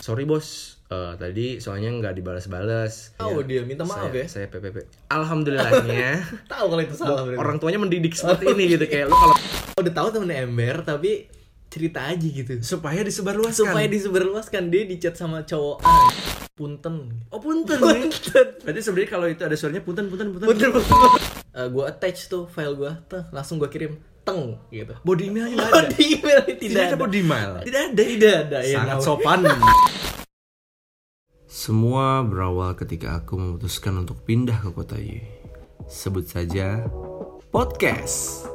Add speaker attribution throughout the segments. Speaker 1: sorry bos eh, tadi soalnya nggak dibalas-balas
Speaker 2: Tahu dia, minta maaf
Speaker 1: saya,
Speaker 2: ya?
Speaker 1: saya PPP alhamdulillahnya
Speaker 2: Tahu kalau itu salah berarti.
Speaker 1: orang tuanya mendidik seperti ini gitu kayak lo kalau
Speaker 2: udah tahu temen ember tapi cerita aja gitu.
Speaker 1: supaya disebarluaskan
Speaker 2: Supaya disebarluaskan dia dicat sama cowok A. Punten.
Speaker 1: oh punten
Speaker 2: Punten.
Speaker 1: berarti sebenarnya kalau itu ada suaranya punten punten punten,
Speaker 2: Punten. gue Eh, attach tuh file gue, langsung gue kirim teng gitu.
Speaker 1: body emailnya nggak
Speaker 2: Oh,
Speaker 1: ada
Speaker 2: di email tidak,
Speaker 1: tidak ada
Speaker 2: ada.
Speaker 1: body email
Speaker 2: Tidak ada. Tidak ada. ya, Nah,
Speaker 1: sangat
Speaker 2: tahu.
Speaker 1: sopan semua berawal ketika aku memutuskan untuk pindah ke kota Y sebut saja podcast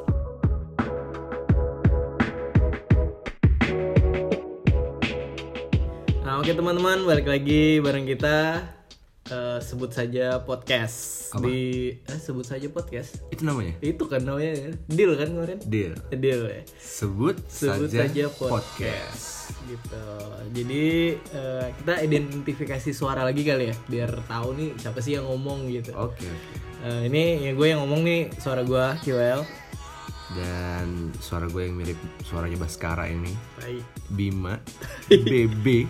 Speaker 2: Nah, oke teman-teman, balik lagi bareng kita eh, sebut saja podcast
Speaker 1: Apa?
Speaker 2: di eh, sebut saja podcast.
Speaker 1: itu namanya
Speaker 2: Itu kan namanya kan? deal kan kemarin?
Speaker 1: deal
Speaker 2: Deal ya.
Speaker 1: sebut,
Speaker 2: Sebut
Speaker 1: saja,
Speaker 2: saja
Speaker 1: podcast.
Speaker 2: Gitu. Jadi eh, kita identifikasi suara lagi kali ya biar tahu nih siapa sih yang ngomong gitu.
Speaker 1: Oke. oke.
Speaker 2: Eh, ini ya gue yang ngomong nih suara gue QL.
Speaker 1: Dan suara gue yang mirip suaranya Baskara ini
Speaker 2: Baik.
Speaker 1: Bima BB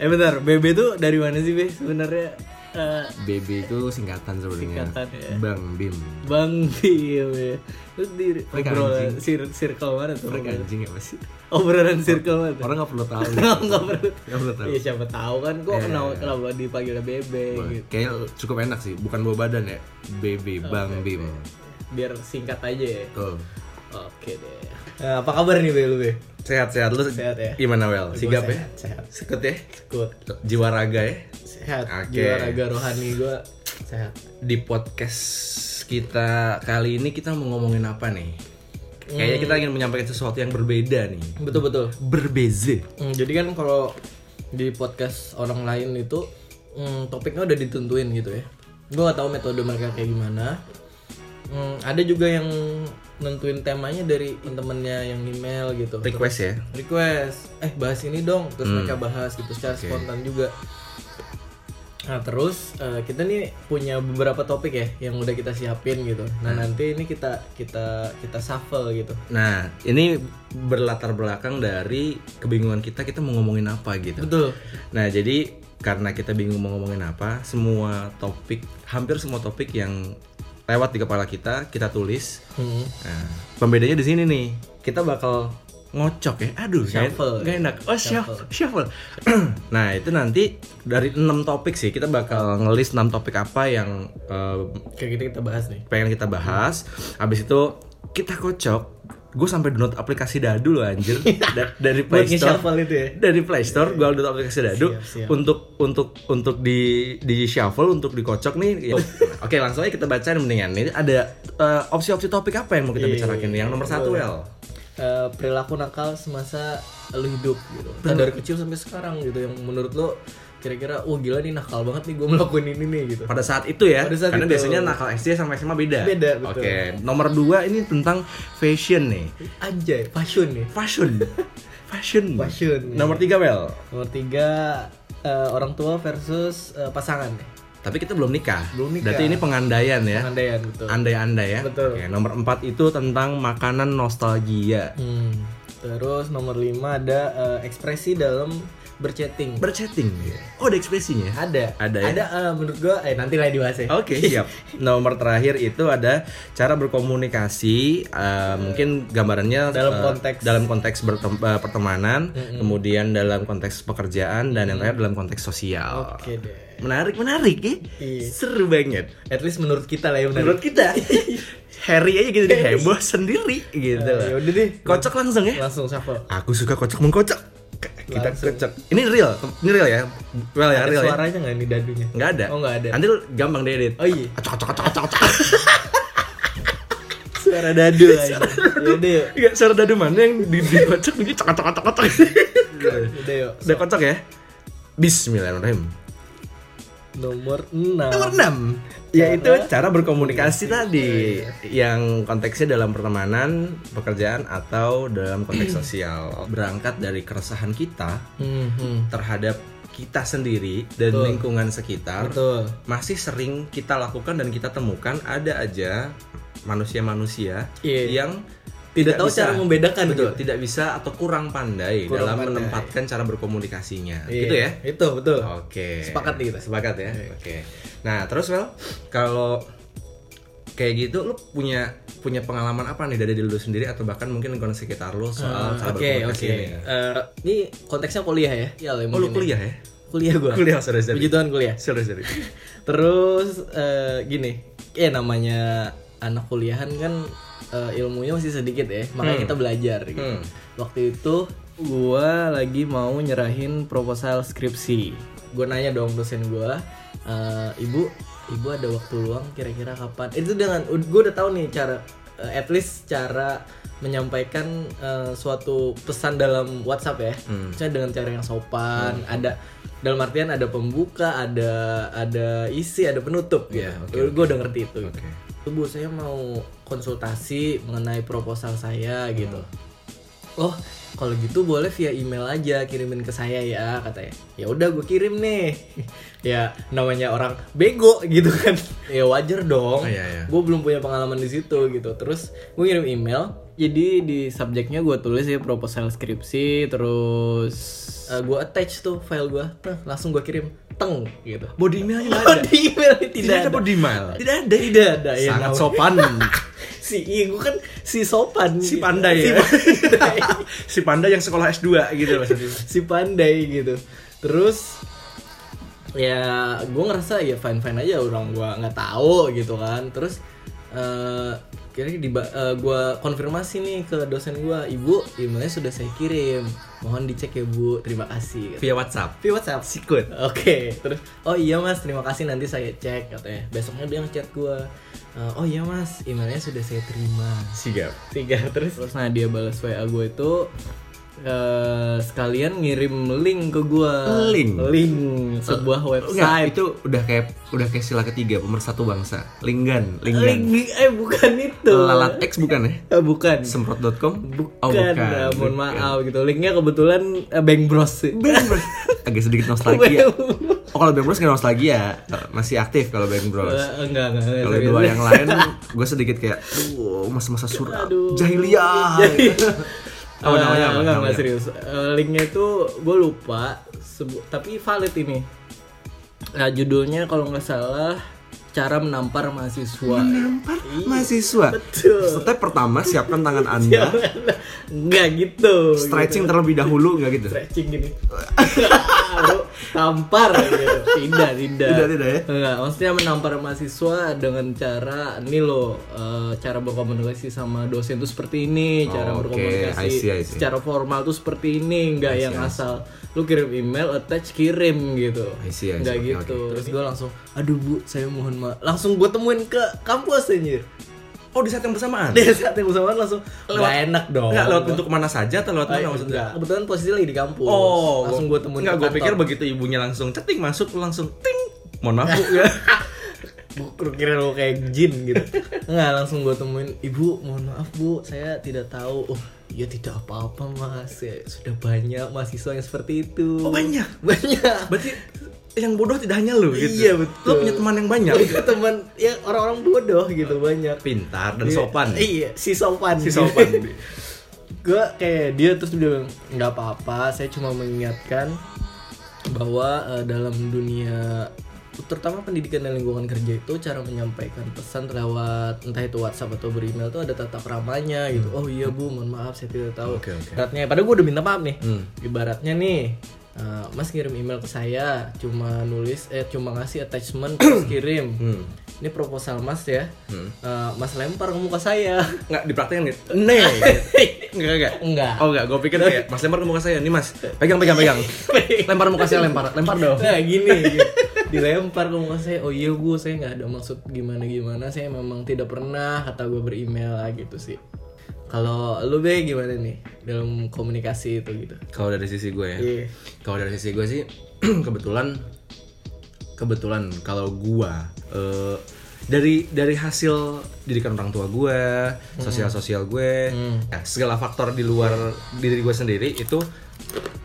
Speaker 2: Eh bentar, BB tuh dari mana sih, Be? Sebenarnya eh,
Speaker 1: BB itu singkatan sebenarnya.
Speaker 2: Singkatan, ya.
Speaker 1: Bang Bim.
Speaker 2: Bang Bim ya. Terus di
Speaker 1: Mereka
Speaker 2: obrolan sir- circle mana tuh?
Speaker 1: Mereka anjing apa sih?
Speaker 2: Obrolan circle mana tuh?
Speaker 1: Orang nggak perlu tahu.
Speaker 2: Enggak perlu.
Speaker 1: Nggak perlu tahu.
Speaker 2: Iya siapa tahu kan kok
Speaker 1: Iya.
Speaker 2: kenapa kenapa dipanggilnya Bebe gitu.
Speaker 1: Kayaknya cukup enak sih, bukan bawa badan ya. BB Bang Bim.
Speaker 2: Biar singkat aja ya.
Speaker 1: Tuh.
Speaker 2: Oke deh.
Speaker 1: Eh,
Speaker 2: Nah, apa kabar nih Be lu Be?
Speaker 1: Sehat-sehat lu
Speaker 2: Sehat ya.
Speaker 1: gimana Wel? Sigap ya?
Speaker 2: Sehat.
Speaker 1: Sekut ya?
Speaker 2: Good.
Speaker 1: Jiwa raga ya?
Speaker 2: Sehat.
Speaker 1: Oke.
Speaker 2: Jiwa raga rohani gua sehat.
Speaker 1: Di podcast kita kali ini kita mau ngomongin apa nih? Kayaknya
Speaker 2: Hmm.
Speaker 1: kita ingin menyampaikan sesuatu yang berbeda nih.
Speaker 2: Betul betul.
Speaker 1: Berbeza.
Speaker 2: Hmm, jadi kan kalau di podcast orang lain itu hmm, topiknya udah ditentuin gitu ya. Gue gak tahu metode mereka kayak gimana. Hmm, ada juga yang nentuin temanya dari temennya yang email gitu.
Speaker 1: Request ya.
Speaker 2: Request, eh bahas ini dong. Terus mereka bahas gitu secara spontan juga. Nah terus eh, kita nih punya beberapa topik ya yang udah kita siapin gitu. Nah nanti ini kita kita kita shuffle gitu.
Speaker 1: Nah, ini berlatar belakang dari kebingungan kita kita mau ngomongin apa gitu.
Speaker 2: Betul.
Speaker 1: Nah, jadi karena kita bingung mau ngomongin apa, semua topik, hampir semua topik yang lewat di kepala kita, kita tulis.
Speaker 2: Hmm.
Speaker 1: Nah, pembedanya di sini nih. Kita bakal ngocok ya. Aduh, nggak-
Speaker 2: Shuffle.
Speaker 1: nggak enak. Oh, shuffle. shuffle. nah, itu nanti dari 6 topik sih, kita bakal ngelis 6 topik apa yang eh,
Speaker 2: Kayak gitu kita bahas nih.
Speaker 1: pengen kita bahas. Habis itu kita kocok. Gue sampai download aplikasi Dadu loh anjir Da- dari Play
Speaker 2: Buat
Speaker 1: Store.
Speaker 2: nge-shuffle itu ya.
Speaker 1: Dari Play Store gue download aplikasi Dadu
Speaker 2: Siap, siap.
Speaker 1: untuk untuk untuk di di shuffle untuk dikocok nih. Ya.
Speaker 2: Oh.
Speaker 1: Oke, langsung aja kita bacain mendingan. Ini ada eh, opsi-opsi topik apa yang mau kita
Speaker 2: Iya,
Speaker 1: bicarakan? Yang nomor satu,
Speaker 2: boleh.
Speaker 1: El.
Speaker 2: eh, perilaku nakal semasa lu hidup gitu. Entah dari kecil sampai sekarang gitu yang menurut lu kira-kira wah gila nih nakal banget nih gue melakukan ini nih gitu.
Speaker 1: Pada saat itu ya,
Speaker 2: Pada saat
Speaker 1: karena
Speaker 2: itu.
Speaker 1: biasanya nakal SD sama SMA beda.
Speaker 2: Beda, betul.
Speaker 1: Oke, nomor dua ini tentang fashion nih.
Speaker 2: Anjay, passion nih.
Speaker 1: Fashion. Fashion.
Speaker 2: Fashion.
Speaker 1: Nomor tiga, Wel.
Speaker 2: Nomor tiga eh, orang tua versus eh, pasangan nih.
Speaker 1: Tapi kita belum nikah.
Speaker 2: Belum nikah.
Speaker 1: Berarti ini pengandaian ya.
Speaker 2: Pengandaian betul.
Speaker 1: Andai-andai ya.
Speaker 2: Betul.
Speaker 1: Oke, nomor 4 itu tentang makanan nostalgia.
Speaker 2: Hmm. Terus nomor lima ada eh, ekspresi dalam berchatting.
Speaker 1: Berchatting. Oh, ada ekspresinya.
Speaker 2: ada.
Speaker 1: Ada ya? Oh.
Speaker 2: Ada eh, menurut gue eh nanti lah dibahas ya.
Speaker 1: Oke, siap. Nomor terakhir itu ada cara berkomunikasi, eh, mungkin gambarannya
Speaker 2: Dalam
Speaker 1: eh,
Speaker 2: konteks.
Speaker 1: dalam konteks bertem- eh, pertemanan, kemudian dalam konteks pekerjaan dan yang terakhir dalam konteks sosial.
Speaker 2: Oke deh.
Speaker 1: Menarik, menarik ya.
Speaker 2: Iya.
Speaker 1: Seru banget.
Speaker 2: At least menurut kita lah ya benar.
Speaker 1: Menurut kita, Harry aja gitu dia heboh sendiri gitu.
Speaker 2: Eh,
Speaker 1: loh.
Speaker 2: yaudah deh.
Speaker 1: Kocok langsung ya.
Speaker 2: Langsung shuffle.
Speaker 1: Aku suka kocok mengkocok. Kita
Speaker 2: Langsung.
Speaker 1: kocok. Ini real, ini real ya. Well ya,
Speaker 2: Ada
Speaker 1: real ya.
Speaker 2: suaranya nggak nih dadunya?
Speaker 1: Enggak ada.
Speaker 2: Oh nggak ada.
Speaker 1: Nanti lu gampang deh edit.
Speaker 2: Oh iya.
Speaker 1: Kocok kocok kocok kocok.
Speaker 2: Suara dadu aja. Udah yuk.
Speaker 1: Enggak suara dadu mana yang di dikocok bunyi cok cok cok cok.
Speaker 2: Udah yuk.
Speaker 1: Udah kocok ya. Bismillahirrahmanirrahim. Oh.
Speaker 2: Nomor 6.
Speaker 1: Nomor 6 yaitu cara berkomunikasi tadi yang konteksnya dalam pertemanan, pekerjaan atau dalam konteks sosial. Berangkat dari keresahan kita
Speaker 2: Hmm, hmm.
Speaker 1: terhadap kita sendiri dan
Speaker 2: Betul.
Speaker 1: lingkungan sekitar
Speaker 2: Betul.
Speaker 1: masih sering kita lakukan dan kita temukan ada aja manusia-manusia
Speaker 2: Iya.
Speaker 1: yang
Speaker 2: tidak tahu cara membedakan
Speaker 1: betul
Speaker 2: gitu.
Speaker 1: tidak bisa atau kurang pandai
Speaker 2: Kurang
Speaker 1: dalam
Speaker 2: pandai.
Speaker 1: menempatkan cara berkomunikasinya
Speaker 2: Iya,
Speaker 1: gitu ya
Speaker 2: Itu betul.
Speaker 1: Oke.
Speaker 2: Sepakat nih kita. Iya.
Speaker 1: Sepakat ya. Oke. Nah, terus Wel, kalau kayak gitu lu punya punya pengalaman apa nih dari diri lu sendiri atau bahkan mungkin lingkungan sekitar lu soal cara
Speaker 2: Ah, Oke,
Speaker 1: berkomunikasi
Speaker 2: oke.
Speaker 1: ini?
Speaker 2: Eh, Ini konteksnya kuliah ya? Iya, lah,
Speaker 1: Oh, lu
Speaker 2: mungkin ya.
Speaker 1: kuliah ya?
Speaker 2: Kuliah gua.
Speaker 1: Kuliah, sorry, sorry.
Speaker 2: Puji Tuhan kuliah.
Speaker 1: Sorry, sorry.
Speaker 2: Terus eh, gini, ya namanya anak kuliahan kan eh, ilmunya masih sedikit ya, makanya kita belajar. Gitu.
Speaker 1: Hmm.
Speaker 2: Waktu itu gua lagi mau nyerahin proposal skripsi. Gua nanya dong dosen gua, "Eh, ibu, ibu ada waktu luang kira-kira kapan? Eh, Itu dengan gua udah tahu nih cara, eh, at least cara menyampaikan eh, suatu pesan dalam WhatsApp ya,
Speaker 1: Hmm.
Speaker 2: misalnya dengan cara yang sopan, ada dalam artian ada pembuka, ada ada isi, ada penutup
Speaker 1: Iya,
Speaker 2: gitu.
Speaker 1: oke,
Speaker 2: Gua- gua udah ngerti itu.
Speaker 1: Oke.
Speaker 2: Bu, saya mau konsultasi mengenai proposal saya gitu.
Speaker 1: Hmm.
Speaker 2: Oh, kalau gitu boleh via email aja kirimin ke saya ya katanya. Ya udah gue kirim nih. ya namanya orang bego gitu kan. ya wajar dong.
Speaker 1: Oh, iya, iya.
Speaker 2: Gue belum punya pengalaman di situ gitu. Terus gue kirim email. Jadi di subjeknya gue tulis ya proposal skripsi terus gue attach tuh file gue, langsung gue kirim teng gitu.
Speaker 1: Body emailnya nggak
Speaker 2: Oh,
Speaker 1: ada.
Speaker 2: di email tidak,
Speaker 1: Tidak ada
Speaker 2: ada.
Speaker 1: body email.
Speaker 2: Tidak ada, tidak ada. ya,
Speaker 1: Eh. Sangat
Speaker 2: namanya.
Speaker 1: sopan.
Speaker 2: si iya gue kan si sopan
Speaker 1: si
Speaker 2: gitu.
Speaker 1: pandai
Speaker 2: si,
Speaker 1: ya. si pandai yang sekolah S2 gitu loh.
Speaker 2: si pandai gitu terus ya gue ngerasa ya fine fine aja orang gue nggak tahu gitu kan terus eh kira-kira di gue konfirmasi nih ke dosen gue ibu emailnya sudah saya kirim mohon dicek ya bu terima kasih gitu.
Speaker 1: Via WhatsApp.
Speaker 2: via WhatsApp
Speaker 1: Sikut.
Speaker 2: Oke, terus oh iya mas, terima kasih nanti saya cek katanya. Besoknya dia ngechat gue, "Eh, oh iya mas, emailnya sudah saya terima.
Speaker 1: Sigap.
Speaker 2: tiga terus terus nah dia balas wa gue itu eh, sekalian ngirim link ke gue
Speaker 1: Link?
Speaker 2: link sebuah
Speaker 1: Enggak,
Speaker 2: website
Speaker 1: itu udah kayak udah kayak sila ketiga pemersatu bangsa. Linggan,
Speaker 2: link
Speaker 1: linggan.
Speaker 2: eh bukan itu
Speaker 1: Lalat X bukan ya?
Speaker 2: Eh, bukan
Speaker 1: semprot.com
Speaker 2: bukan,
Speaker 1: oh,
Speaker 2: eh, mohon maaf gitu linknya kebetulan eh, Bank Bros ya? sih Eh,
Speaker 1: Bang Bros. agak sedikit nostalgia oh kalau Bang Bros nggak nostalgia eh, masih aktif kalau Bang Bros
Speaker 2: Eh, enggak enggak, enggak
Speaker 1: kalau
Speaker 2: serius.
Speaker 1: dua yang lain gue sedikit kayak aduh masa-masa surat
Speaker 2: Aduh.
Speaker 1: jahiliyah apa
Speaker 2: Iya, Eh,
Speaker 1: namanya apa
Speaker 2: enggak, enggak
Speaker 1: namanya?
Speaker 2: serius. Eh, linknya itu gue lupa, sebu- tapi valid ini. Nah, judulnya kalau nggak salah cara menampar mahasiswa.
Speaker 1: Lempar mahasiswa
Speaker 2: Iya, Betul. Iya,
Speaker 1: step pertama siapkan tangan anda
Speaker 2: Enggak gitu.
Speaker 1: stretching
Speaker 2: gitu.
Speaker 1: terlebih dahulu nggak gitu
Speaker 2: stretching gini. Baru tampar gitu. Tidak, tidak.
Speaker 1: Tidak, tidak ya?
Speaker 2: Enggak, maksudnya menampar mahasiswa dengan cara ini loh, eh, cara berkomunikasi sama dosen tuh seperti ini,
Speaker 1: Oh,
Speaker 2: cara
Speaker 1: oke.
Speaker 2: berkomunikasi
Speaker 1: I see, I see.
Speaker 2: secara formal tuh seperti ini, enggak yang asal lu kirim email attach kirim gitu.
Speaker 1: I see, I see.
Speaker 2: Enggak
Speaker 1: Oke,
Speaker 2: gitu. Terus gue langsung, "Aduh, Bu, saya mohon maaf." Langsung gue temuin ke kampus anjir.
Speaker 1: oh di saat yang bersamaan
Speaker 2: Dia saat yang bersamaan langsung Gak enak dong
Speaker 1: nggak lewat untuk mana saja atau lewat
Speaker 2: Ay,
Speaker 1: mana maksudnya
Speaker 2: Ah, Iya, enggak. Kebetulan posisi lagi di kampus.
Speaker 1: Oh,
Speaker 2: langsung gue temuin.
Speaker 1: Enggak,
Speaker 2: ke
Speaker 1: gue
Speaker 2: kantor.
Speaker 1: pikir begitu ibunya langsung ceting masuk lu langsung ting. Mohon maaf bu
Speaker 2: Iya.
Speaker 1: ya.
Speaker 2: Gua kira lo kayak jin gitu. Enggak, langsung gue temuin, "Ibu, mohon maaf, Bu. Saya tidak tahu." Oh, ya tidak apa-apa, Mas. Ya, sudah banyak mahasiswa yang seperti itu.
Speaker 1: Oh, banyak?
Speaker 2: Banyak.
Speaker 1: Berarti yang bodoh tidak hanya lu gitu.
Speaker 2: Iya, betul.
Speaker 1: Lu punya teman yang banyak.
Speaker 2: Banyak teman ya orang-orang bodoh gitu banyak.
Speaker 1: Pintar dan sopan.
Speaker 2: Iya, si sopan.
Speaker 1: Si sopan.
Speaker 2: gue kayak dia terus dia bilang nggak apa-apa saya cuma mengingatkan bahwa eh, dalam dunia terutama pendidikan dan lingkungan kerja itu cara menyampaikan pesan lewat entah itu WhatsApp atau beremail itu ada tata keramanya gitu oh iya bu mohon maaf saya tidak tahu
Speaker 1: Hmm. Oke, oke.
Speaker 2: Ibaratnya- padahal gue udah minta maaf nih
Speaker 1: Hmm.
Speaker 2: ibaratnya nih eh, mas kirim email ke saya cuma nulis eh cuma ngasih attachment terus kirim
Speaker 1: Hmm.
Speaker 2: ini proposal mas ya Eh, mas lempar ke muka saya
Speaker 1: Enggak dipraktekin gitu. Nih. Enggak enggak.
Speaker 2: enggak
Speaker 1: Oh enggak, gue pikir kayak Mas lempar ke muka saya nih Mas. Pegang pegang pegang. lempar muka saya lempar. Lempar dong.
Speaker 2: Nah gini, gitu. dilempar ke muka saya. Oh iya bu, saya nggak ada maksud gimana gimana. Saya memang tidak pernah kata gue beremail lah gitu sih. Kalau lu be gimana nih dalam komunikasi itu gitu?
Speaker 1: Kalau dari sisi gue ya.
Speaker 2: Iya.
Speaker 1: Kalau dari sisi gue sih kebetulan kebetulan kalau gua eh, dari dari hasil didikan orang tua gue, sosial sosial gue, ya, segala faktor di luar diri gue sendiri itu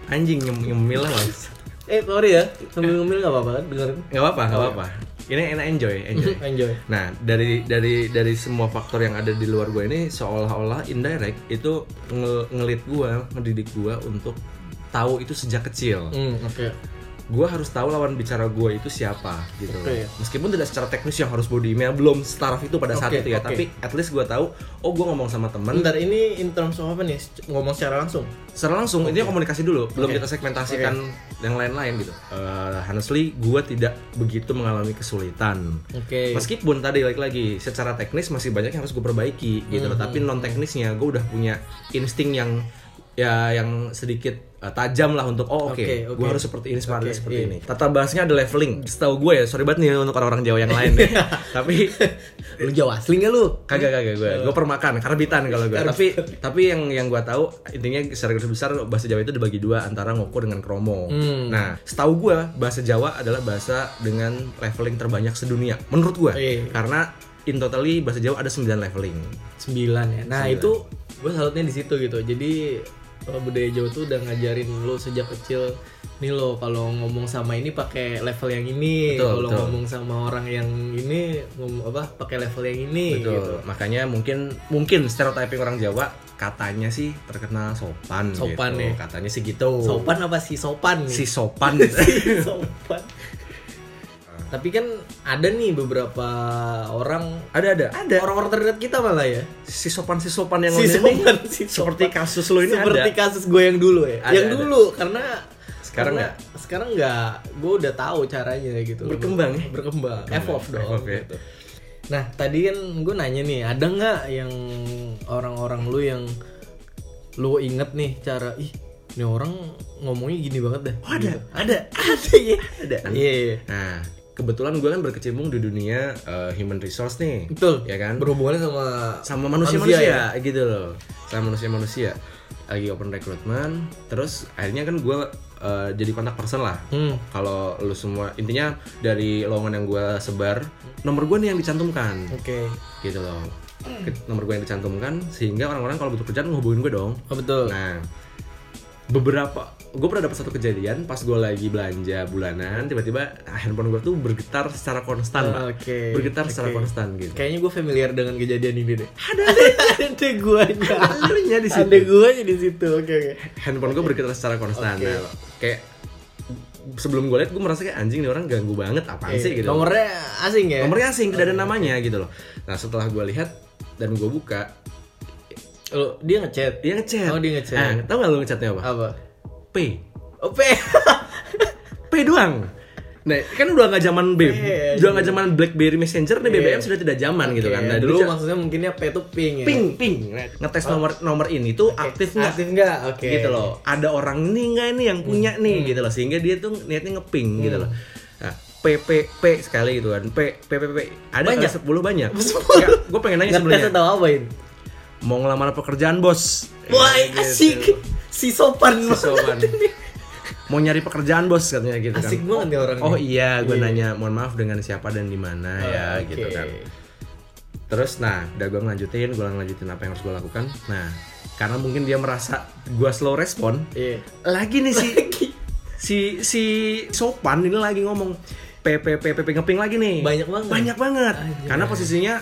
Speaker 1: anjing nyem- nyemil lah mas.
Speaker 2: Eh sorry ya, sambil ngomil nggak apa-apa kan dengerin?
Speaker 1: Gak apa-apa, gak apa-apa. ini enak enjoy enjoy
Speaker 2: Enjoy.
Speaker 1: Nah, dari dari dari semua faktor yang ada di luar gue ini seolah-olah indirect itu nge- ngelit gue, mendidik gue untuk tahu itu sejak kecil.
Speaker 2: Hmm, oke.
Speaker 1: Gue harus tahu lawan bicara gue itu siapa gitu.
Speaker 2: Oke.
Speaker 1: Meskipun tidak secara teknis yang harus body email belum setaraf itu pada saat
Speaker 2: Oke,
Speaker 1: itu ya,
Speaker 2: oke.
Speaker 1: tapi at least gue tahu oh gue ngomong sama temen
Speaker 2: Bentar ini in terms of apa nih? Ngomong secara langsung.
Speaker 1: secara langsung intinya komunikasi dulu, belum
Speaker 2: Hmm. Oke.
Speaker 1: kita segmentasikan yang lain-lain gitu. Eh, honestly, gue tidak begitu mengalami kesulitan.
Speaker 2: Oke.
Speaker 1: Meskipun tadi lagi lagi secara teknis masih banyak yang harus gue perbaiki gitu loh,
Speaker 2: Hmm.
Speaker 1: tapi non teknisnya gue udah punya insting yang ya yang sedikit eh, tajam lah untuk oh oke
Speaker 2: Oke,
Speaker 1: gue
Speaker 2: oke.
Speaker 1: harus seperti ini seperti,
Speaker 2: Oke,
Speaker 1: seperti
Speaker 2: iya.
Speaker 1: ini. Tata bahasnya ada leveling. Setahu gue ya, sorry banget nih untuk orang-orang Jawa yang lain deh. tapi
Speaker 2: Lu Jawa asli nggak lu?
Speaker 1: kagak kagak gue
Speaker 2: Iya.
Speaker 1: gue permakan karbitan kalau gue tapi tapi yang yang gue tahu intinya secara garis besar bahasa Jawa itu dibagi dua antara ngoko dengan kromo
Speaker 2: Hmm.
Speaker 1: nah setahu gue bahasa Jawa adalah bahasa dengan leveling terbanyak sedunia menurut gue
Speaker 2: Iya.
Speaker 1: karena in totally bahasa Jawa ada 9 leveling
Speaker 2: 9 ya. Nah, itu gue salutnya di situ gitu. Jadi eh, budaya Jawa tuh udah ngajarin lo sejak kecil nih lo kalau ngomong sama ini pakai level yang ini,
Speaker 1: Betul,
Speaker 2: kalau
Speaker 1: betul.
Speaker 2: ngomong sama orang yang ini ngomong apa pakai level yang ini
Speaker 1: Betul.
Speaker 2: gitu.
Speaker 1: makanya mungkin mungkin stereotyping orang Jawa katanya sih terkenal sopan
Speaker 2: Sopan
Speaker 1: gitu.
Speaker 2: ya.
Speaker 1: katanya sih gitu
Speaker 2: Sopan apa sih sopan nih?
Speaker 1: si sopan
Speaker 2: sopan. Tapi kan ada nih beberapa orang
Speaker 1: ada ada ada
Speaker 2: orang-orang terdekat kita malah ya.
Speaker 1: si sopan si sopan yang
Speaker 2: Si
Speaker 1: lo ini
Speaker 2: sopan, si
Speaker 1: seperti
Speaker 2: sopan.
Speaker 1: kasus lo ini
Speaker 2: seperti
Speaker 1: ada
Speaker 2: kasus gue yang dulu ya
Speaker 1: Ada,
Speaker 2: yang
Speaker 1: ada.
Speaker 2: dulu karena
Speaker 1: Sekarang
Speaker 2: karena, sekarang nggak gue udah tahu caranya gitu
Speaker 1: Berkembang ya?
Speaker 2: berkembang evolve dong
Speaker 1: Evolve ya.
Speaker 2: gitu. nah tadi kan gue nanya nih ada nggak yang orang-orang lu yang lu inget nih cara ih ini orang ngomongnya gini banget dah
Speaker 1: Oh, ada,
Speaker 2: Gitu. ada ada ya
Speaker 1: ada kan?
Speaker 2: iya iya.
Speaker 1: Nah, kebetulan gue kan berkecimpung di dunia eh, human resource nih.
Speaker 2: betul
Speaker 1: Ya kan?
Speaker 2: berhubungannya sama
Speaker 1: Sama manusia-manusia
Speaker 2: Manusia, ya?
Speaker 1: gitu loh. Sama manusia-manusia. Lagi open recruitment, terus akhirnya kan gue eh, jadi kontak person lah.
Speaker 2: hmm
Speaker 1: Kalau lu semua intinya dari lowongan yang gue sebar, nomor gue nih yang dicantumkan
Speaker 2: oke
Speaker 1: gitu loh. Ke- Nomor gue yang dicantumkan sehingga orang-orang kalau butuh kerjaan ngehubungin gue dong.
Speaker 2: oh, betul
Speaker 1: Nah, beberapa gue pernah dapat satu kejadian pas gue lagi belanja bulanan tiba-tiba handphone gue tuh bergetar secara konstan pak
Speaker 2: Oke.
Speaker 1: bergetar secara
Speaker 2: oke.
Speaker 1: konstan gitu
Speaker 2: Kayaknya gue familiar dengan kejadian ini deh. Ada ada gue
Speaker 1: Akhirnya di situ
Speaker 2: Ada gue di situ. Oke oke.
Speaker 1: handphone gue bergetar secara konstan
Speaker 2: Oke.
Speaker 1: Nah, kayak sebelum gue lihat gue merasa kayak anjing nih orang ganggu banget apaan sih
Speaker 2: Iya,
Speaker 1: gitu
Speaker 2: Nomornya asing ya.
Speaker 1: nomornya asing tidak ada namanya gitu loh nah setelah gue lihat dan gue buka
Speaker 2: Lo, dia ngechat.
Speaker 1: dia ngechat
Speaker 2: Oh, dia ngechat.
Speaker 1: nah, tau gak lu ngechatnya apa
Speaker 2: Apa?
Speaker 1: P
Speaker 2: OP.
Speaker 1: P doang. Nah, kan udah nggak zaman B,
Speaker 2: Iya,
Speaker 1: udah nggak zaman BlackBerry Messenger, nih BBM sudah tidak zaman gitu kan. Nah, dulu
Speaker 2: dulu maksudnya mungkinnya P itu pink ya.
Speaker 1: ping ping Nah, ngetes nomor nomor ini tuh
Speaker 2: Oh. Oke.
Speaker 1: aktif nggak?
Speaker 2: Aktif nggak? Oke. Hmm,
Speaker 1: Gitu loh. Ada orang ini nggak ini yang punya nih gitu loh. Sehingga dia tuh niatnya ngeping gitu loh. Nah, PPP sekali gitu kan. P P P, P. ada
Speaker 2: Banyak.
Speaker 1: banyak. 10 banyak.
Speaker 2: Sepuluh.
Speaker 1: gue pengen nanya sebenarnya.
Speaker 2: Ngetes atau apain?
Speaker 1: Mau ngelamar pekerjaan, Bos.
Speaker 2: Wah
Speaker 1: Gitu.
Speaker 2: asik. Si sopan.
Speaker 1: Si sopan. Mau nyari pekerjaan, Bos katanya gitu kan.
Speaker 2: Asik banget nih orang.
Speaker 1: Oh iya, gue nanya, mohon maaf dengan siapa dan di mana ya
Speaker 2: Oh,
Speaker 1: gitu kan. Terus nah, udah gue ngelanjutin, gue ngelanjutin apa yang harus gue lakukan. Nah, karena mungkin dia merasa gue slow respon,
Speaker 2: Iya.
Speaker 1: lagi nih si si si sopan ini lagi ngomong PPPPP ngeping lagi nih.
Speaker 2: Banyak banget. Ah, iya.
Speaker 1: Banyak banget.
Speaker 2: Anjay.
Speaker 1: Karena posisinya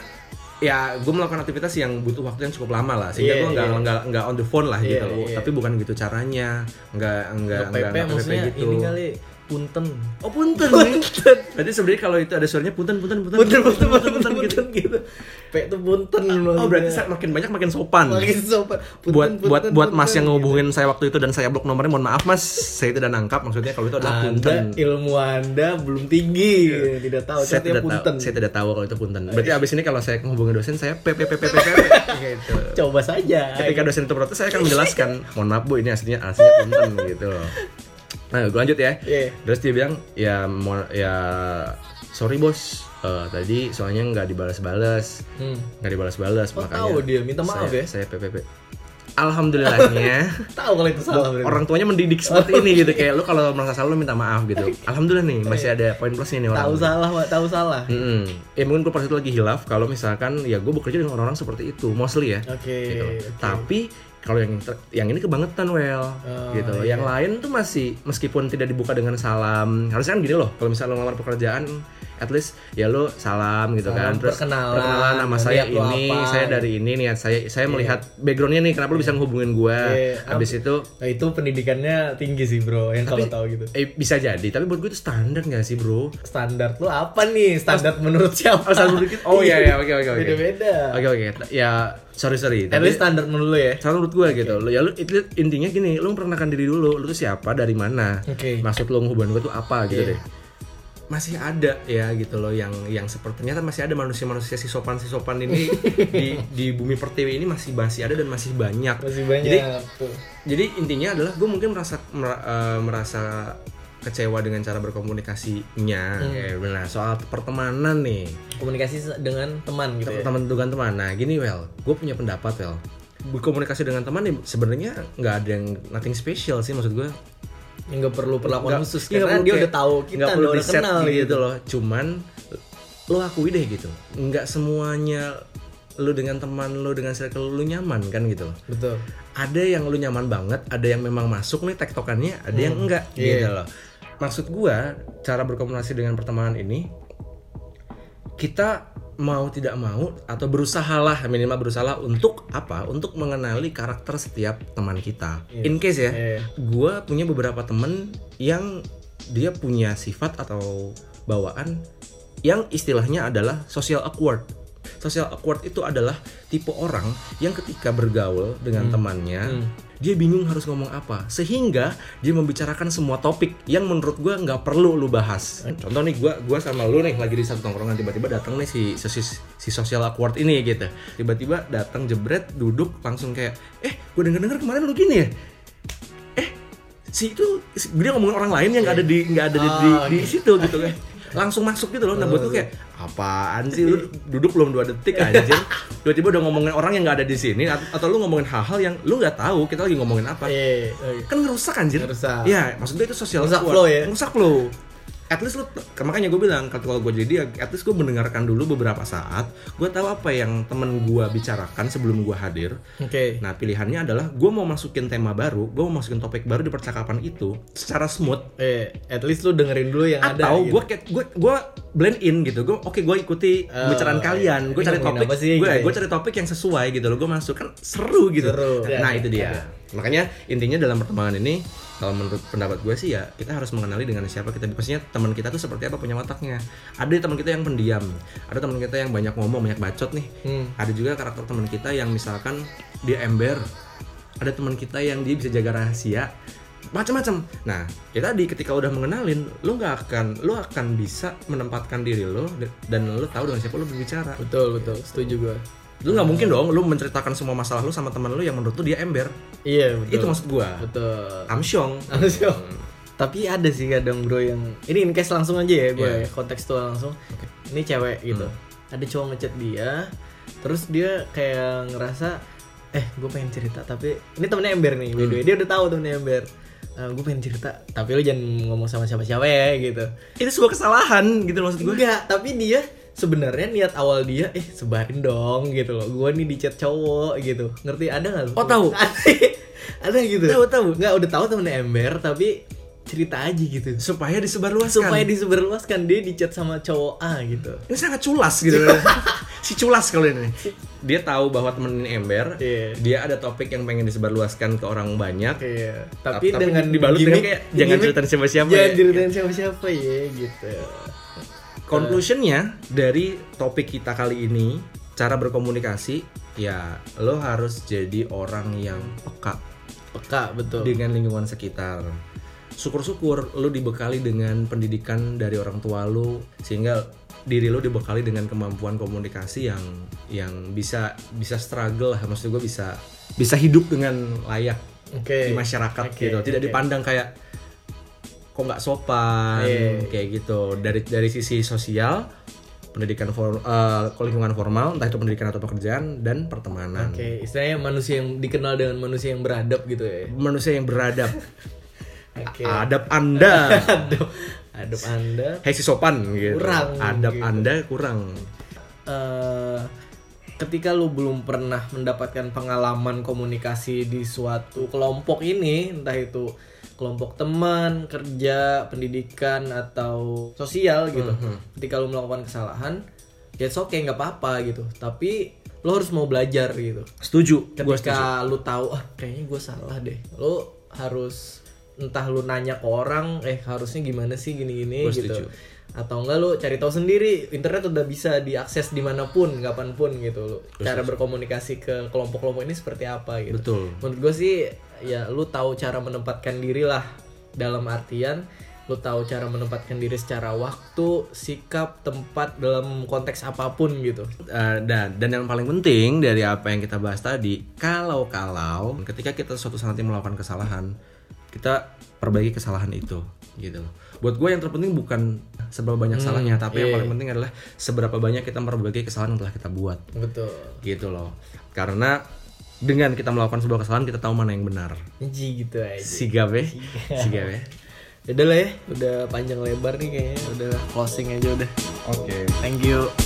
Speaker 1: ya gue melakukan aktivitas yang butuh waktu yang cukup lama lah sehingga
Speaker 2: Iya,
Speaker 1: gue nggak
Speaker 2: iya.
Speaker 1: nggak nggak on the phone lah
Speaker 2: Iya,
Speaker 1: gitu loh
Speaker 2: iya.
Speaker 1: tapi bukan gitu caranya nggak nggak nggak
Speaker 2: PP
Speaker 1: nggak
Speaker 2: maksudnya
Speaker 1: PPP gitu
Speaker 2: ini kali punten.
Speaker 1: oh punten
Speaker 2: Punten.
Speaker 1: berarti sebenarnya kalau itu ada suaranya punten punten punten
Speaker 2: Punten, punten, punten,
Speaker 1: punten,
Speaker 2: gitu. gitu. P itu punten
Speaker 1: Oh
Speaker 2: loh.
Speaker 1: berarti sa- makin banyak makin sopan.
Speaker 2: makin sopan. Punten,
Speaker 1: Hmm. buat
Speaker 2: punten,
Speaker 1: buat buat Mas
Speaker 2: punten. gitu.
Speaker 1: yang ngehubungin saya waktu itu dan saya blok nomornya mohon maaf Mas, saya tidak nangkap maksudnya kalau itu adalah
Speaker 2: Anda
Speaker 1: Ah, punten. Iya.
Speaker 2: ilmu Anda belum tinggi, tidak tahu.
Speaker 1: saya
Speaker 2: Contohnya
Speaker 1: tidak
Speaker 2: punten.
Speaker 1: tahu. Saya tidak tahu kalau itu punten. Berarti abis ini kalau saya menghubungi dosen saya PPPPP gitu.
Speaker 2: Coba saja.
Speaker 1: Ketika dosen itu protes saya akan menjelaskan, mohon maaf Bu, ini aslinya aslinya punten gitu loh. Nah, gue lanjut ya.
Speaker 2: Iya.
Speaker 1: Terus dia bilang, ya mo- ya sorry bos, Eh, tadi soalnya nggak dibalas-balas.
Speaker 2: Hmm.
Speaker 1: nggak dibalas-balas
Speaker 2: Oh,
Speaker 1: makanya
Speaker 2: tahu dia, minta maaf
Speaker 1: saya,
Speaker 2: ya?
Speaker 1: saya PPP alhamdulillahnya
Speaker 2: Tahu kalau itu salah berarti. Oh.
Speaker 1: orang tuanya mendidik seperti ini gitu kayak lu kalau merasa salah lu minta maaf gitu alhamdulillah nih masih ada poin plusnya nih orang
Speaker 2: Iya. tahu salah, Pak. Tahu salah.
Speaker 1: Mm-mm. ya mungkin gue pas itu lagi hilaf kalau misalkan ya gue bekerja dengan orang-orang seperti itu mostly ya
Speaker 2: Oke.
Speaker 1: gitu loh.
Speaker 2: oke.
Speaker 1: tapi kalau yang ter- yang ini kebangetan well
Speaker 2: Oh,
Speaker 1: gitu loh.
Speaker 2: iya.
Speaker 1: yang lain tuh masih meskipun tidak dibuka dengan salam harusnya kan gini loh kalau misalnya lo ngelamar pekerjaan at least ya lo salam gitu
Speaker 2: Salam,
Speaker 1: kan terus
Speaker 2: perkenalan,
Speaker 1: nama
Speaker 2: lihat
Speaker 1: saya
Speaker 2: lo
Speaker 1: ini
Speaker 2: apa,
Speaker 1: saya dari ini niat saya saya melihat backgroundnya nih kenapa lo bisa ngehubungin gue
Speaker 2: Iya.
Speaker 1: habis itu
Speaker 2: Nah, itu pendidikannya tinggi sih bro, yang kalau tahu gitu.
Speaker 1: eh, bisa jadi tapi buat gue itu standar gak sih bro
Speaker 2: Standar lu apa nih? Standar menurut siapa?
Speaker 1: Oh, standar menurut kita? Oh, iya, iya, oke, oke, oke.
Speaker 2: Beda-beda.
Speaker 1: oke oke ya sorry sorry
Speaker 2: At
Speaker 1: tapi
Speaker 2: least standar menurut lu ya.
Speaker 1: Salah menurut gue gitu lo ya lu itu intinya gini lu memperkenalkan diri dulu lu tuh siapa dari mana
Speaker 2: Oke.
Speaker 1: maksud lu hubungan gue tuh apa gitu
Speaker 2: Iya.
Speaker 1: deh masih ada ya gitu loh yang yang seperti ternyata masih ada manusia-manusia si sopan si sopan ini di di bumi pertiwi ini masih masih ada dan masih banyak
Speaker 2: Masih banyak
Speaker 1: jadi
Speaker 2: tuh.
Speaker 1: jadi intinya adalah gue mungkin merasa mer- eh, merasa kecewa dengan cara berkomunikasinya
Speaker 2: Hmm.
Speaker 1: ya benar soal pertemanan nih
Speaker 2: Komunikasi se- dengan teman gitu. Ya.
Speaker 1: teman teman teman nah gini well gue punya pendapat well berkomunikasi dengan teman nih sebenarnya nggak ada yang nothing special sih maksud gue
Speaker 2: Yang gak perlu perlakuan
Speaker 1: Nggak-
Speaker 2: khusus
Speaker 1: iya, nggak
Speaker 2: karena
Speaker 1: perlu
Speaker 2: dia
Speaker 1: kayak-
Speaker 2: udah tahu kita
Speaker 1: nggak
Speaker 2: udah
Speaker 1: perlu
Speaker 2: orang
Speaker 1: di set
Speaker 2: kenal
Speaker 1: gitu.
Speaker 2: gitu.
Speaker 1: loh cuman lo akui deh gitu nggak semuanya lo dengan teman lo dengan circle lo nyaman kan gitu loh
Speaker 2: Betul.
Speaker 1: ada yang lu nyaman banget, ada yang memang masuk nih tektokannya, ada yang enggak gitu loh. Maksud gua, cara berkomunikasi dengan pertemanan ini kita mau tidak mau atau berusahalah minimal berusaha untuk apa? Untuk mengenali karakter setiap teman kita. In case ya,
Speaker 2: Iya.
Speaker 1: gua punya beberapa temen yang dia punya sifat atau bawaan yang istilahnya adalah social awkward. Social awkward itu adalah tipe orang yang ketika bergaul dengan temannya, dia bingung harus ngomong apa, sehingga dia membicarakan semua topik yang menurut gua nggak perlu lu bahas. Eh, Contoh nih, gua gua sama lu nih lagi di satu tongkrongan tiba-tiba datang nih si si, si- si social awkward ini gitu, tiba-tiba datang jebret duduk langsung kayak, eh gue denger-denger kemarin lu gini ya, Eh, si itu si- dia ngomongin orang lain yang nggak ada di nggak ada di, di-
Speaker 2: Ah,
Speaker 1: di
Speaker 2: iya.
Speaker 1: situ gitu kan langsung masuk gitu loh nah buat tuh kayak
Speaker 2: Eh.
Speaker 1: apaan sih lu duduk belum dua detik anjir tiba-tiba udah ngomongin orang yang nggak ada di sini at- atau lu ngomongin hal-hal yang lu nggak tahu kita lagi ngomongin apa
Speaker 2: Iya, iya.
Speaker 1: kan ngerusak anjir
Speaker 2: Ngerusak.
Speaker 1: ya maksud gue itu sosial
Speaker 2: Ngerusak
Speaker 1: awkward.
Speaker 2: flow ya?
Speaker 1: ngerusak flow at least lu makanya gue bilang kalau gue jadi dia at least gue mendengarkan dulu beberapa saat gue tahu apa yang temen gue bicarakan sebelum gue hadir
Speaker 2: Oke.
Speaker 1: Nah pilihannya adalah gue mau masukin tema baru, gue mau masukin topik baru di percakapan itu secara smooth
Speaker 2: Eh, at least lu dengerin dulu yang ada.
Speaker 1: atau
Speaker 2: gitu.
Speaker 1: gue gue gue blend in gitu gue oke gue ikuti
Speaker 2: Oh,
Speaker 1: pembicaraan kalian
Speaker 2: iya.
Speaker 1: gue
Speaker 2: Ini
Speaker 1: cari
Speaker 2: ngomongin
Speaker 1: topik
Speaker 2: apa sih,
Speaker 1: gue
Speaker 2: gitu ya?
Speaker 1: gue cari topik yang sesuai gitu loh gue masuk kan seru gitu nah,
Speaker 2: Seru. Iya,
Speaker 1: nah,
Speaker 2: iya,
Speaker 1: itu dia makanya intinya dalam perkembangan ini kalau menurut pendapat gue sih ya kita harus mengenali dengan siapa kita maksudnya teman kita tuh seperti apa punya wataknya ada teman kita yang pendiam ada teman kita yang banyak ngomong banyak bacot nih
Speaker 2: Hmm.
Speaker 1: ada juga karakter teman kita yang misalkan dia ember ada teman kita yang dia bisa jaga rahasia macam-macam nah ya tadi ketika udah mengenalin lo nggak akan lo akan bisa menempatkan diri lo dan lo tahu dengan siapa lo berbicara
Speaker 2: Betul, betul. Setuju gua.
Speaker 1: lo nggak mungkin dong lo menceritakan semua masalah lo sama teman lo yang menurut lo dia ember
Speaker 2: Iya, betul.
Speaker 1: itu maksud gua
Speaker 2: betul.
Speaker 1: amsyong
Speaker 2: Langsung. Hmm. Tapi ada sih kadang bro yang ini in case langsung aja ya gue ya, kontekstual langsung. Ini cewek gitu. Ada cowok ngechat dia, terus dia kayak ngerasa eh gue pengen cerita tapi ini temennya ember nih by the way. dia udah tahu temennya ember gue pengen cerita tapi lu jangan ngomong sama siapa-siapa ya gitu
Speaker 1: itu sebuah kesalahan gitu loh maksud gua
Speaker 2: enggak tapi dia sebenarnya niat awal dia eh sebarin dong gitu loh gue nih di chat cowok gitu ngerti ada nggak lu?
Speaker 1: Oh, tahu.
Speaker 2: ada gitu
Speaker 1: Tahu, tahu.
Speaker 2: nggak udah tahu temennya ember tapi cerita aja gitu
Speaker 1: supaya disebarluaskan
Speaker 2: supaya disebarluaskan dia di chat sama cowok A gitu
Speaker 1: ini sangat culas gitu si culas kalau ini dia tahu bahwa temenin ember
Speaker 2: Iya.
Speaker 1: dia ada topik yang pengen disebarluaskan ke orang banyak
Speaker 2: Iya, tapi,
Speaker 1: Tapi
Speaker 2: dengan
Speaker 1: dibalut dengan kayak, jangan ceritain siapa-siapa
Speaker 2: Jangan
Speaker 1: ya.
Speaker 2: ceritain siapa-siapa ya gitu.
Speaker 1: conclusionnya dari topik kita kali ini cara berkomunikasi ya lo harus jadi orang yang peka
Speaker 2: Peka betul.
Speaker 1: dengan lingkungan sekitar syukur-syukur lo dibekali dengan pendidikan dari orang tua lo sehingga diri lo dibekali dengan kemampuan komunikasi yang yang bisa bisa struggle lah maksud gue bisa bisa hidup dengan layak
Speaker 2: Oke.
Speaker 1: di masyarakat
Speaker 2: Oke,
Speaker 1: gitu tidak
Speaker 2: oke.
Speaker 1: dipandang kayak kok nggak sopan
Speaker 2: Iya.
Speaker 1: kayak gitu dari dari sisi sosial pendidikan for, eh, lingkungan formal entah itu pendidikan atau pekerjaan dan pertemanan
Speaker 2: Oke, istilahnya manusia yang dikenal dengan manusia yang beradab gitu ya.
Speaker 1: manusia yang beradab
Speaker 2: Oke.
Speaker 1: adab anda
Speaker 2: Aduh, aduh Anda.
Speaker 1: hei si sopan gitu
Speaker 2: Kurang,
Speaker 1: adab
Speaker 2: gitu.
Speaker 1: anda kurang
Speaker 2: eh ketika lu belum pernah mendapatkan pengalaman komunikasi di suatu kelompok ini, entah itu kelompok teman, kerja, pendidikan atau sosial gitu. Ketika lu melakukan kesalahan, ya it's okay, nggak apa-apa gitu. Tapi lu harus mau belajar gitu
Speaker 1: Setuju. Gua setuju.
Speaker 2: ketika lu tahu ah kayaknya gue salah deh lu harus entah lu nanya ke orang eh harusnya gimana sih gini-gini
Speaker 1: Gua
Speaker 2: gitu
Speaker 1: setuju.
Speaker 2: atau enggak lu cari tahu sendiri internet udah bisa diakses dimanapun kapanpun gitu lu cara berkomunikasi ke kelompok-kelompok ini seperti apa gitu
Speaker 1: Betul.
Speaker 2: menurut gue sih ya lu tahu cara menempatkan diri lah dalam artian lu tahu cara menempatkan diri secara waktu sikap tempat dalam konteks apapun gitu
Speaker 1: Eh, dan dan yang paling penting dari apa yang kita bahas tadi, kalau-kalau ketika kita suatu saat nanti melakukan kesalahan, kita perbaiki kesalahan itu gitu loh. Buat gue yang terpenting bukan seberapa banyak salahnya, tapi yang
Speaker 2: iya.
Speaker 1: paling penting adalah seberapa banyak kita memperbaiki kesalahan yang telah kita buat
Speaker 2: betul
Speaker 1: gitu loh. Karena dengan kita melakukan sebuah kesalahan kita tahu mana yang benar.
Speaker 2: Ji gitu aja.
Speaker 1: Sigap ya.
Speaker 2: Iya.
Speaker 1: Sigap ya.
Speaker 2: Udah lah ya, udah panjang lebar nih kayaknya. Udah closing aja udah.
Speaker 1: Oke.
Speaker 2: Thank you.